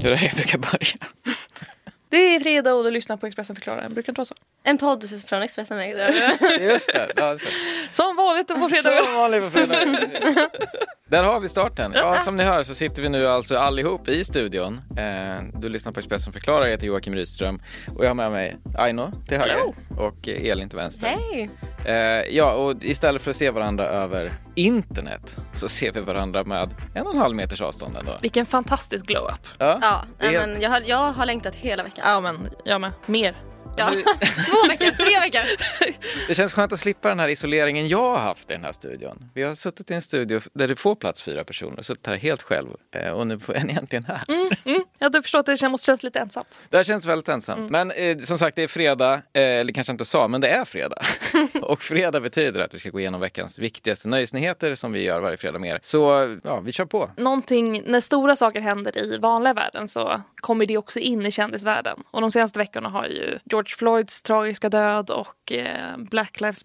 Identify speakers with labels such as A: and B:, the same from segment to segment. A: Det är där jag brukar börja.
B: Det är fredag och du lyssnar på Expressen förklarar. Det brukar inte vara så.
C: En podd från Expressen Magazine.
A: Just det. Ja, så.
B: Som vanligt på fredag.
A: Som vanligt på fredag. Där har vi starten. Ja, som ni hör så sitter vi nu alltså allihop i studion. Eh, Du lyssnar på Expressen förklarar. Jag heter Joakim Rydström och jag har med mig Aino till höger
B: Hello.
A: och Elin till vänster.
C: Hej!
A: Eh, Ja, och istället för att se varandra över internet så ser vi varandra med en och en halv meters avstånd ändå.
B: Vilken fantastisk glow-up.
C: Ja, nej,
A: Det-
C: men jag, har, jag har längtat hela veckan.
B: Ja, men jag med. Mer.
C: Ja. Två veckor, tre veckor.
A: Det känns skönt att slippa den här isoleringen jag har haft i den här studion. Vi har suttit i en studio där det får plats fyra personer, suttit här helt själv eh, och nu är ni äntligen här.
B: Jag hade förstått att det måste kännas lite ensamt.
A: Det här känns väldigt ensamt. Men eh, som sagt, det är fredag, eh, eller kanske jag inte sa, men det är fredag. och fredag betyder att vi ska gå igenom veckans viktigaste nöjesnyheter som vi gör varje fredag med er. Så ja, vi kör på.
B: Någonting, när stora saker händer i vanliga världen så kommer det också in i kändisvärlden. Och de senaste veckorna har ju George Floyds tragiska död och eh, Black Lives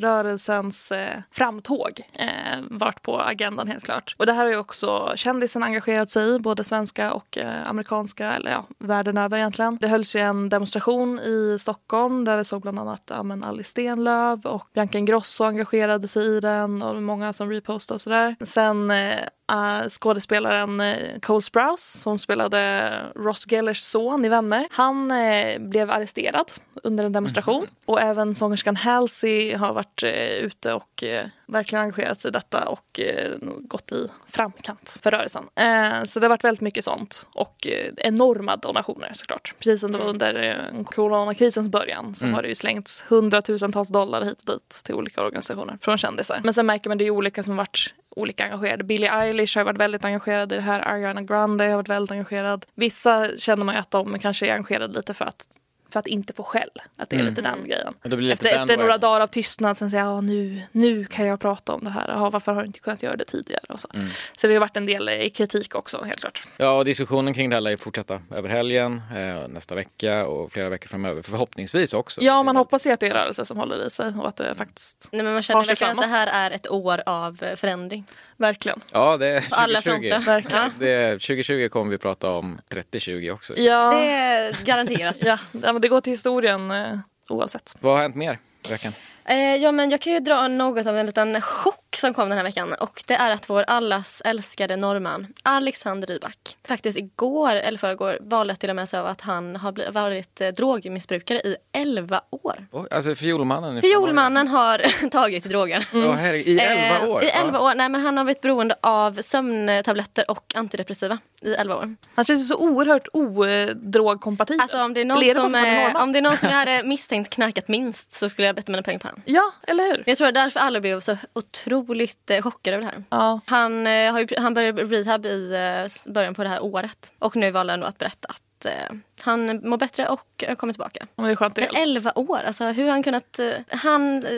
B: Matter-rörelsens eh, framtåg eh, varit på agendan helt klart. Och det här har ju också kändisen engagerat sig i, både svenska och eh, amerikanska, eller ja, världen över egentligen. Det hölls ju en demonstration i Stockholm där vi såg bland annat ja, men Alice Stenlöf och Bianca Ingrosso engagerade sig i den och många som repostade och sådär. Sen eh, eh, skådespelaren eh, Cole Sprouse som spelade Ross Gellers son i Vänner. Han eh, blev arresterad under en demonstration och även sångerskan Halsey har varit eh, ute och eh, verkligen engagerat sig i detta och eh, gått i framkant för rörelsen. Eh, så det har varit väldigt mycket sånt och eh, enorma donationer såklart. Precis som det var under eh, coronakrisens början så har det ju slängts hundratusentals dollar hit och dit till olika organisationer från kändisar. Men sen märker man det är ju olika som har varit olika engagerade. Billie Eilish har varit väldigt engagerad i det här. Ariana Grande har varit väldigt engagerad. Vissa känner man ju att de kanske är engagerade lite för att för att inte få skäll. Att det är lite den grejen.
A: Och Mm. då blir det lite
B: Efter, efter
A: bandwagon.
B: några dagar av tystnad sen säger jag "Ja, nu, nu kan jag prata om det här. Jaha, varför har du inte kunnat göra det tidigare? Och så.
A: Mm.
B: så det har varit en del eh, kritik också helt klart.
A: Ja, och diskussionen kring det här lär ju fortsätta över helgen, eh, nästa vecka och flera veckor framöver förhoppningsvis också.
B: Ja, man hoppas ju att det är rörelsen som håller i sig och att det faktiskt
C: Nej, men man
B: Tar
C: känner
B: sig
C: verkligen att det
B: framåt.
C: här är ett år av eh, förändring.
B: verkligen.
A: Ja, det är 2020.
C: alla fronter.
B: Verkligen.
A: Det, 2020 kommer vi prata om 3020 också.
B: Ja,
C: Det
B: det...
C: är garanterat.
B: ja, ja men det går till historien eh, oavsett.
A: Vad har hänt mer i veckan?
C: Eh, ja, men jag kan ju dra något av en liten chock som kom den här veckan. Och Det är att vår allas älskade norrman Alexander Rybak faktiskt igår, eller förrgår, valde att dela med sig av att han har bli- varit eh, drogmissbrukare i 11 år.
A: Oj, alltså fiolmannen.
C: Fiolmannen har tagit droger.
A: Mm. I elva
C: Eh,
A: år?
C: I 11 år. Nej, men han har varit beroende av sömntabletter och antidepressiva i 11 år.
B: Han känns ju så oerhört eh, odrogkompatibel.
C: Alltså, om, det är någon
B: Eller är det bara
C: som,
B: för att han är
C: eh,
B: norrman?
C: om det är någon som jag hade misstänkt knarkat minst så skulle jag bett mina pengar på honom.
B: Ja, eller hur?
C: Men Jag tror det är därför alla blev så otroligt eh, chockade över det här.
B: Ja.
C: Han, eh, har ju, han började rehab i eh, s- början på det här året. Och nu valde han då att berätta att eh, han mår bättre och eh, kommer tillbaka.
B: Men det är skönt det.
C: Men 11 år, alltså hur har han kunnat... eh, Han, eh,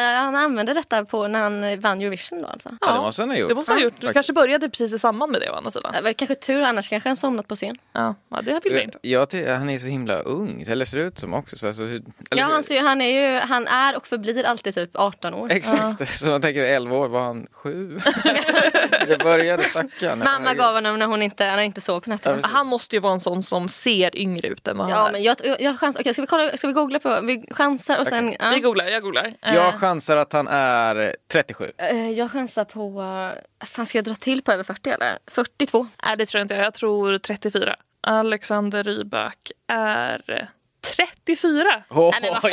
C: han använde detta på när han eh, vann Eurovision då alltså.
A: Ja, det måste han ha gjort.
B: Det måste han ha gjort. Du
A: Faktiskt.
B: kanske började precis i samband med det å andra sidan.
C: Det var kanske tur, annars kanske han somnat på scen.
B: Ja, ja det vill jag inte.
A: Eh, Jag ty- han är så himla ung, eller ser ut som också. Så alltså, hur, eller,
C: Ja, han, ser ju- han, är ju, han är och förblir alltid typ 18 år.
A: Exakt, så man tänker 11 år, var han sju? det började stackarn.
C: Mamma gav honom när hon inte, när han inte sov på nätterna.
A: precis.
B: Han måste ju vara en sån som ser yngre ut än vad han
C: Ja,
B: är.
C: men jag, jag, jag chansar. Okej, ska vi, kolla, ska vi googla på... Vi chansar och sen... ja.
B: Vi googlar, jag googlar. Eh,
A: Jag chansar att han är 37.
C: Eh, Jag chansar på... eh, Fan, ska jag dra till på över 40 eller? 42.
B: Nej, det tror jag inte. Jag tror 34. Alexander Rybak är eh, 34.
A: Oh,
C: Nej, men vad, nej,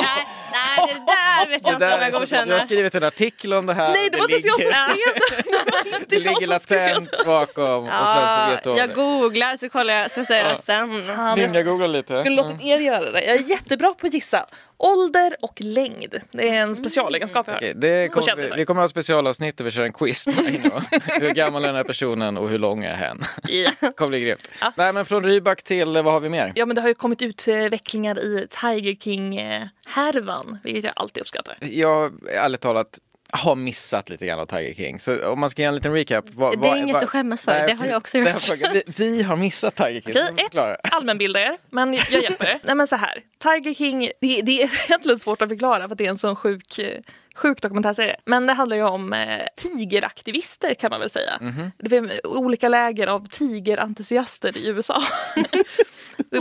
C: nej, det där vet jag
A: Det
C: inte
A: där
C: om
A: är
C: jag
A: så- jag
C: godkänner.
A: har skrivit en artikel om det här.
B: Nej, det var inte ens jag som
A: ligger-
B: skrev det.
A: Det
B: Det var
A: ligger
B: jag som skrev
A: latent bakom och sen så
C: Ja,
A: vet du om
C: jag
A: det.
C: googlar så kollar jag, så säger jag sen.
B: Fan, jag
A: googlar lite.
B: skulle låtit er göra det. Jag är jättebra på att gissa. Ålder och längd. Det är
A: Mm.
B: en specialegenskap jag har.
A: Okej, Eh, det kommer, vi,
B: kändisar.
A: vi kommer ha specialavsnitt där vi kör en quiz. med Aino. hur gammal är den här personen och hur lång är hen?
B: Ja.
A: kommer bli grymt. Nej, men från Rybak till, eh, vad har vi mer?
B: Ja, men det har ju kommit utvecklingar i Tiger King-härvan, vilket jag alltid uppskattar.
A: Jag, ärligt talat, har missat lite grann av Tiger King. Så om man ska ge en liten recap. vad-
C: Det är
A: vad-
C: inget
A: vad-
C: att skämmas för. Det har jag också
A: det
C: gjort.
A: har jag- vi, vi har missat Tiger King.
B: Okej,
A: Ska vi förklara?
B: ett, allmänbilda er. Men jag hjälper er. Nej men så här, Tiger King, det, det är egentligen svårt att förklara för att det är en sån sjuk eh, Sjuk dokumentärserie. Men det handlar ju om eh, tigeraktivister kan man väl säga. Det finns olika läger av tigerentusiaster i USA.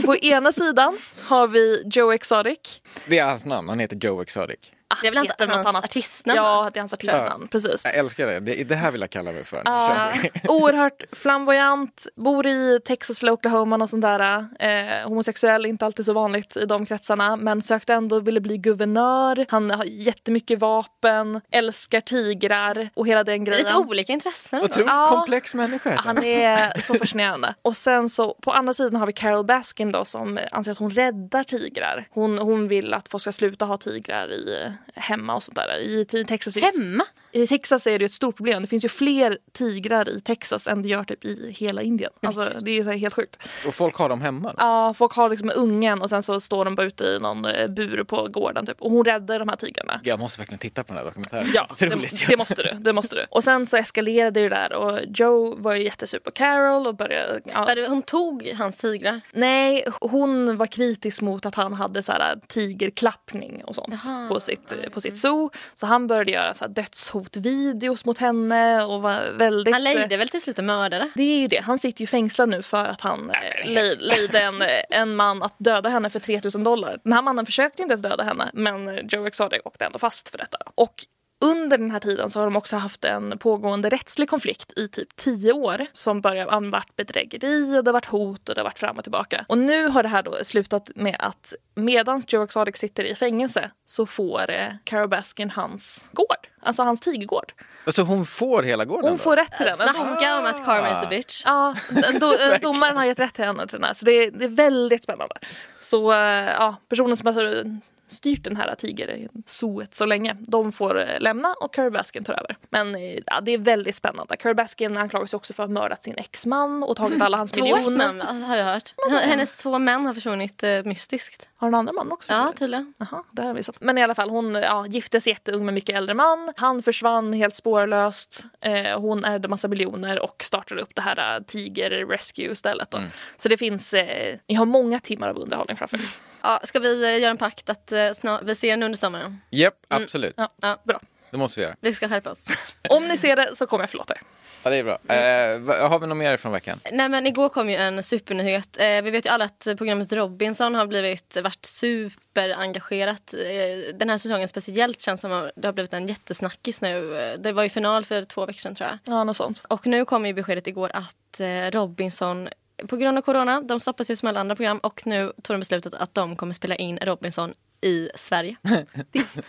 B: På ena sidan har vi Joe Exotic.
A: Det är hans namn, han heter Joe Exotic.
C: Det är väl inte
B: Heter något
C: hans
B: annat?
C: artistnamn?
B: Ja, det är hans artistnamn. Precis.
A: Jag älskar det, det, det här vill jag kalla mig för. Nu
B: Ja.
C: Ah.
A: kör vi.
B: Oerhört flamboyant, bor i Texas eller Oklahoma och sånt där. Eh, homosexuell, inte alltid så vanligt i de kretsarna men sökte ändå, ville bli guvernör. Han har jättemycket vapen, älskar tigrar och hela den grejen.
C: Lite olika intressen. ändå.
A: Otroligt
B: Ja.
A: komplex människa.
C: Ah,
B: Han är så fascinerande. Och sen så på andra sidan har vi Carol Baskin då som anser att hon räddar tigrar. Hon, hon vill att folk ska sluta ha tigrar i, hemma och sånt där. I, i Texas är det-
C: Hemma?
B: I Texas är det ju ett stort problem. Det finns ju fler tigrar i Texas än det gör typ i hela Indien. Alltså det är så här helt sjukt.
A: Och folk har dem hemma.
C: Ah.
A: Då.
B: Ja, folk har liksom ungen och sen så står de bara ute i någon eh, bur på gården typ. Och hon räddar de här tigrarna.
A: Jag måste verkligen titta på den här dokumentären.
B: Ja,
A: Otroligt.
B: det, det måste du. Det måste du. Och sen så eskalerade ju det där och Joe var ju jättesur på Carol och började... ja,
C: Där Hon tog hans tigrar.
B: Nej, hon var kritisk mot att han hade så här tigerklappning och sånt
C: Jaha.
B: på sitt, på sitt zoo. Så han började göra så här dödshotvideos mot henne och var väldigt...
C: Han lejde väl till slut en mördare?
B: Det är ju det. Han sitter ju fängslad nu för att han eh, lej- lejde en, eh, en man att döda henne för 3000 dollar. Den här mannen försökte inte ens döda henne men eh, Joe Exotic åkte ändå fast för detta. Och under den här tiden så har de också haft en pågående rättslig konflikt i typ 10 år som börjar ha varit bedrägeri och det har varit hot och det har varit fram och tillbaka. Och nu har det här då slutat med att medan Joe Exotic sitter i fängelse så får eh, Carol Baskin hans gård, alltså hans tigergård.
A: Så Alltså, hon får hela gården?
B: Hon
A: då?
B: får rätt till den. En dom-
C: Snacka om att Carmen is a bitch.
B: Ja, do, domaren har gett rätt till henne till den här. Så det är, det är väldigt spännande. Så eh, ja, personen som har styrt den här tigersoet så länge, de får eh, lämna och Carrie Baskin tar över. Men eh, ja, det är väldigt spännande. Carrie Baskin anklagas också för att ha mördat sin exman och tagit alla hans
C: Två
B: miljoner.
C: namn har jag hört. Hennes två män har försvunnit eh, mystiskt.
B: Har en annan man också?
C: Ja, tydligen.
B: Aha, det har vi sett. Men i alla fall, hon ja, gifte sig jätteung med mycket äldre man. Han försvann helt spårlöst. Eh, hon ärvde massa miljoner och startade upp det här eh, Tiger Rescue stället. Då. Så det finns, eh, ni har många timmar av underhållning framför er.
C: Ja, ska vi eh, göra en pakt att eh, snar- vi ser den under sommaren?
A: Japp, absolut.
B: Ja,
C: Mm. Ja.
B: Bra.
A: Det måste vi göra.
C: Vi ska skärpa oss.
B: Om ni ser det så kommer jag förlåta er.
A: Ja, det är bra. Eh, vad- har vi något mer från veckan?
C: Nej men igår kom ju en supernyhet. Eh, vi vet ju alla att programmet Robinson har blivit, varit superengagerat. Eh, den här säsongen speciellt känns som att det har blivit en jättesnackis nu. Eh, Det var ju final för två veckor sedan tror jag.
B: Ja, något sånt.
C: Och nu kom ju beskedet igår att eh, Robinson på grund av corona, de stoppas ju som alla andra program och nu tog de beslutet att de kommer spela in Robinson i Sverige.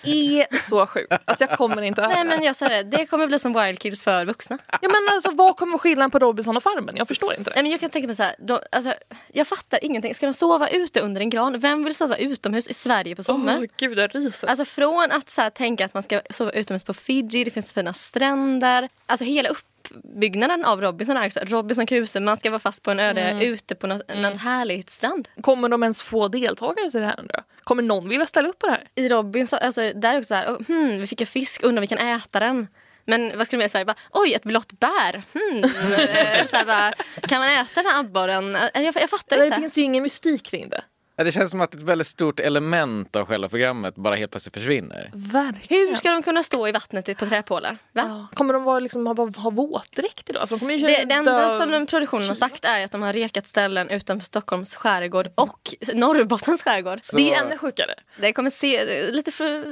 B: Är så sjukt. Alltså jag kommer inte över
C: Nej
B: det.
C: men jag sa det, det kommer bli som Wild Kids för vuxna.
B: ja, men alltså, Vad kommer skillnaden på Robinson och Farmen? Jag förstår inte det.
C: Nej, men jag kan tänka mig så här, de, alltså, jag fattar ingenting. Ska de sova ute under en gran? Vem vill sova utomhus i Sverige på sommaren?
B: Åh, gud, jag ryser.
C: Alltså från att så här, tänka att man ska sova utomhus på Fiji, det finns fina stränder. Alltså hela uppbyggnaden av Robinson är också Robinson Crusoe, man ska vara fast på en öde ute på något, något härligt strand.
B: Kommer de ens få deltagare till det här? undrar jag? Kommer någon vilja ställa upp på det här?
C: I Robinson, alltså där är också så här, oh, hmm, vi fick en fisk, undrar om vi kan äta den. Men vad skulle de göra i Sverige? Bara, Oj, ett blått bär! Hmm. Eh, så här, bara, kan man äta den här abborren? Eh, Jag, jag fattar
B: Eller, det
C: inte.
B: finns ju ingen mystik kring det.
A: Ja, Det känns som att ett väldigt stort element av själva programmet bara helt plötsligt försvinner.
B: Verkligen.
C: Hur ska de kunna stå i vattnet typ på träpålar? Va?
B: Ja. Kommer de vara, liksom, ha, ha våtdräkt idag? Alltså, de kommer ju köra
C: Det, det enda
B: döv-
C: som den produktionen har sagt är att de har rekat ställen utanför Stockholms skärgård och Norrbottens skärgård.
B: Det är ännu sjukare.
C: Det kommer se lite för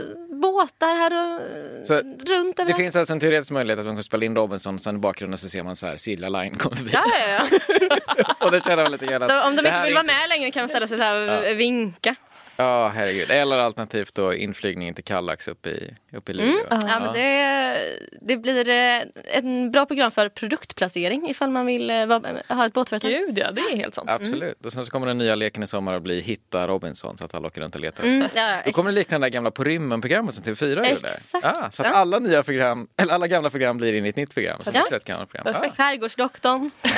C: båtar här och
A: Så
C: runt
A: Det
C: överallt.
A: finns alltså en teoretisk möjlighet att man kan spela in Robinson sen i bakgrunden så ser man så här Silja Line kommer förbi.
C: Ja, ja, ja.
A: Och då känner man lite grann att
C: Så Om de
A: det
C: inte
A: här
C: vill
A: är
C: vara med längre kan de ställa sig så här och vinka.
A: Ja, herregud. Eller alternativt då inflygningen till Kallax uppe i, uppe i Luleå.
C: Mm. Ja, men det, det blir eh, ett bra program för produktplacering ifall man vill eh, vara- ha ett båtföretag.
B: Gud ja, det är helt sant.
A: Absolut. Och sen så kommer den nya leken i sommar att bli Hitta Robinson så att alla åker runt och letar.
C: Mm, ja,
A: Då kommer det likna det där gamla På rymmen-programmet som TV4 gjorde.
C: Exakt.
A: Ah, så
C: Ja.
A: att alla, nya program, eller alla gamla program blir in i ett nytt program. Som
C: Ja.
A: också är ett gammalt program.
C: Skärgårdsdoktorn.
A: Ah.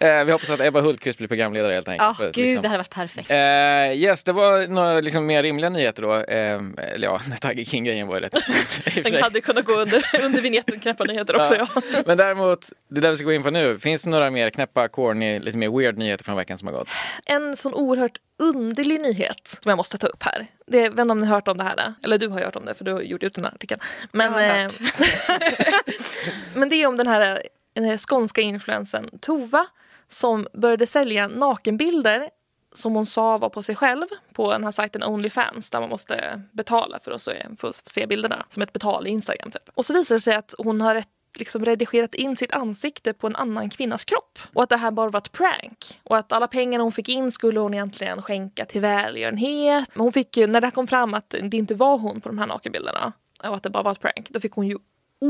A: Eh, vi hoppas att Ebba Hultqvist blir programledare helt enkelt.
C: Ja,
A: För att
C: Ah, gud,
A: liksom-
C: det hade varit perfekt.
A: Eh, yes, det var några liksom mer rimliga nyheter då. Eh, eller ja, Tiger King-grejen var ju rätt. i och för sig.
B: Den hade kunnat gå under, under vignetten knäppa nyheter också. Ja.
A: Men däremot, det där vi ska gå in på nu, finns det några mer knäppa, corny, lite mer weird nyheter från veckan som har gått?
B: En sån oerhört underlig nyhet som jag måste ta upp här. Det, jag vet inte om ni har hört om det här. Eller du har ju hört om det för du har gjort ut den här artikeln. Men,
C: Jag har hört.
B: eh, men det är om den här, den här skånska influensen Tova som började sälja nakenbilder som hon sa var på sig själv på den här sajten Onlyfans där man måste betala för att se, för att se bilderna. Som ett betal i Instagram typ. Och så visar det sig att hon har ett liksom redigerat in sitt ansikte på en annan kvinnas kropp. Och att det här bara var ett prank. Och att alla pengar hon fick in skulle hon egentligen skänka till välgörenhet. Men hon fick ju, när det här kom fram att det inte var hon på de här nakenbilderna och att det bara var ett prank, då fick hon ju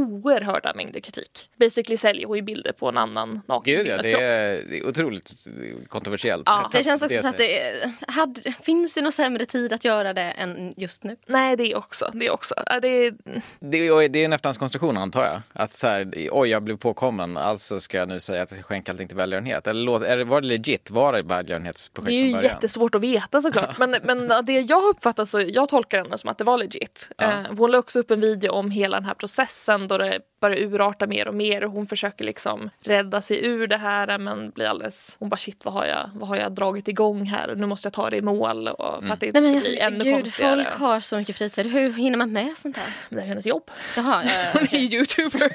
B: oerhörda mängder kritik. Basically säljer hon ju bilder på en annan
A: Gud ja,
B: nakenbildernas
A: det
B: kropp.
A: är, det är otroligt kontroversiellt.
B: Ja,
C: Det känns också så att det är, hade, finns det någon sämre tid att göra det än just nu?
B: Nej, det är också. Det är också. Ja, Det är,
A: Det är, det är en efterhandskonstruktion antar jag. Att så här, oj jag blev påkommen, alltså ska jag nu säga att jag ska skänka allting till välgörenhet. Eller låt, är det, var det legit? Var det välgörenhetsprojekt
B: Det är ju
A: från början?
B: jättesvårt att veta såklart. Men, men ja, det jag har uppfattat så, jag tolkar henne som att det var legit.
A: Ja.
B: Eh, hon la också upp en video om hela den här processen då det börjar urarta mer och mer och hon försöker liksom rädda sig ur det här eh, men blir alldeles, hon bara shit vad har jag, vad har jag dragit igång här och nu måste jag ta det i mål och,
A: Mm.
B: för att det inte
C: Nej, men
B: ska
C: alltså,
B: bli ännu
C: gud,
B: konstigare.
C: folk har så mycket fritid. Hur hinner man med sånt här?
B: Men Det är hennes jobb.
C: Jaha, eh, ja,
B: Hon är youtuber.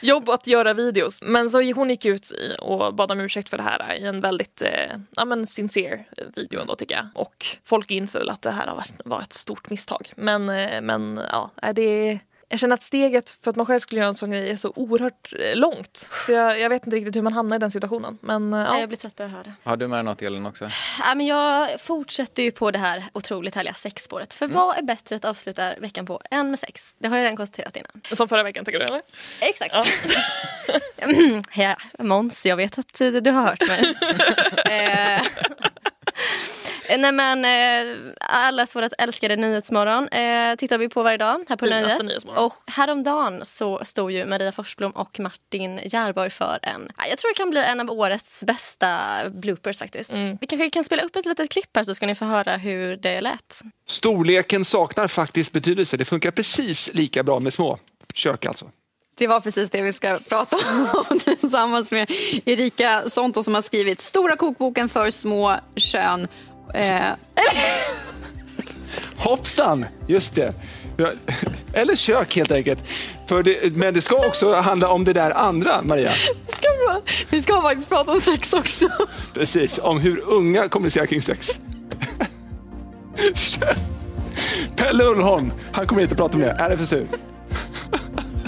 B: Jobb att göra videos. Men så hon gick ut i- och bad om ursäkt för det här i en väldigt eh, ja, men sincere video ändå tycker jag. Och folk inser väl att det här har varit, var ett stort misstag. Men, eh, men ja, nej, det jag känner att steget för att man själv skulle göra en sån grej är så oerhört eh, långt. Så jag, jag vet inte riktigt hur man hamnar i den situationen. Men eh,
C: Nej,
B: ja.
C: jag blir trött på att höra det.
A: Har du med dig något Elin också?
C: Ja, men jag fortsätter ju på det här otroligt härliga sexspåret. För vad är bättre att avsluta veckan på än med sex? Det har jag redan konstaterat innan.
B: Som förra veckan tycker du eller?
C: Exakt. Ja. Måns, jag vet att du har hört mig. Eh, Nej men eh, allas vårt älskade Nyhetsmorgon eh, tittar vi på varje dag här på
B: Finaste
C: Nöjet.
B: Nyhetsmorgon.
C: Och häromdagen så stod ju Maria Forsblom och Martin Järborg för en, ja, jag tror det kan bli en av årets bästa bloopers faktiskt.
B: Mm.
C: Vi kanske kan spela upp ett litet klipp här så ska ni få höra hur det lät.
D: Storleken saknar faktiskt betydelse. Det funkar precis lika bra med små kök alltså.
E: Det var precis det vi ska prata om tillsammans med Erika Sonto som har skrivit Stora kokboken för små kön. Eh,
D: Hoppsan! Just det. Ja, Eller kök helt enkelt. För det, men det ska också handla om det där andra, Maria.
E: vi, ska, vi ska faktiskt prata om sex också.
D: Precis, om hur unga kommunicerar kring sex. Pelle Ulholm, han kommer hit och pratar om det. RFSU.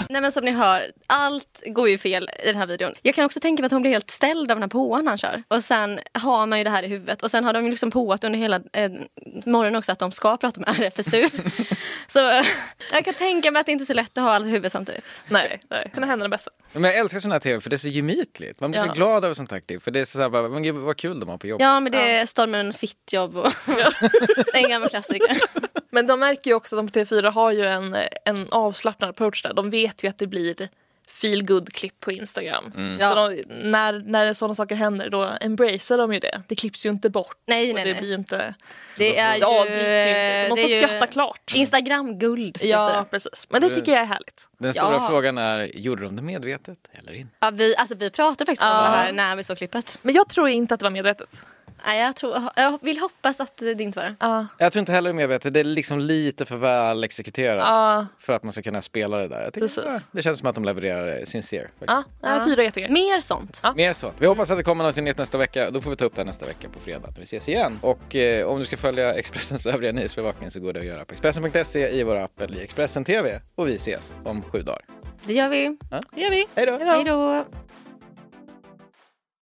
C: Nej men som ni hör, allt går ju fel i den här videon. Jag kan också tänka mig att hon blir helt ställd av den här påan han kör. Och sen har man ju det här i huvudet. Och sen har de ju liksom påat under hela eh, morgonen också att de ska prata om RFSU. så eh, jag kan tänka mig att det inte är så lätt att ha allt i huvudet samtidigt.
B: Nej, nej. Kunde hända det bästa.
A: Men jag älskar sån här tv för det är så gemytligt. Man blir
B: Ja.
A: så glad över sånt här klipp. För det är så här, bara, men gud vad kul de har på jobbet.
C: Ja men det är stormen fitt jobb och en gammal klassiker.
B: Men de märker ju också att de på TV4 har ju en, en avslappnad approach där. De vet ju att det blir feel good klipp på Instagram. Så
C: Ja.
B: de, när, när sådana saker händer då embracear de ju det. Det klipps ju inte bort.
C: Nej
B: Och
C: nej
B: det
C: nej.
B: blir inte...
C: Det är ju...
B: det
C: eh,
B: avbryts ju inte. De
C: det är
B: får
C: ju
B: skratta klart.
C: Instagram-guld. för
B: Ja,
C: fyra.
B: precis. Men det tycker jag är härligt.
A: Den stora
C: Ja.
A: frågan är, gjorde de det medvetet eller inte?
C: ja, vi, alltså, vi pratade faktiskt
B: Ja.
C: om det här när vi såg klippet.
B: Men jag tror inte att det var medvetet.
C: Nej, jag, tror, jag vill hoppas att det inte var det.
B: Ja,
A: Jag tror inte heller det är medvetet, det är liksom lite för väl exekuterat
B: Ja.
A: för att man ska kunna spela det där. Jag tycker,
B: Precis.
A: ja, det känns som att de levererar eh, sincere. faktiskt.
B: ja. ja. fyra är jättegrejer.
C: Mer sånt.
A: Mer så. Vi hoppas att det kommer något nytt nästa vecka. Då får vi ta upp det här nästa vecka på fredag när vi ses igen. Och eh, om du ska följa Expressens övriga nyhetsbevakning så går det att göra på Expressen.se, i vår app eller i Expressen TV. Och vi ses om sju dagar.
C: Det gör vi.
B: Det gör vi.
A: Hej då!
C: Hej då.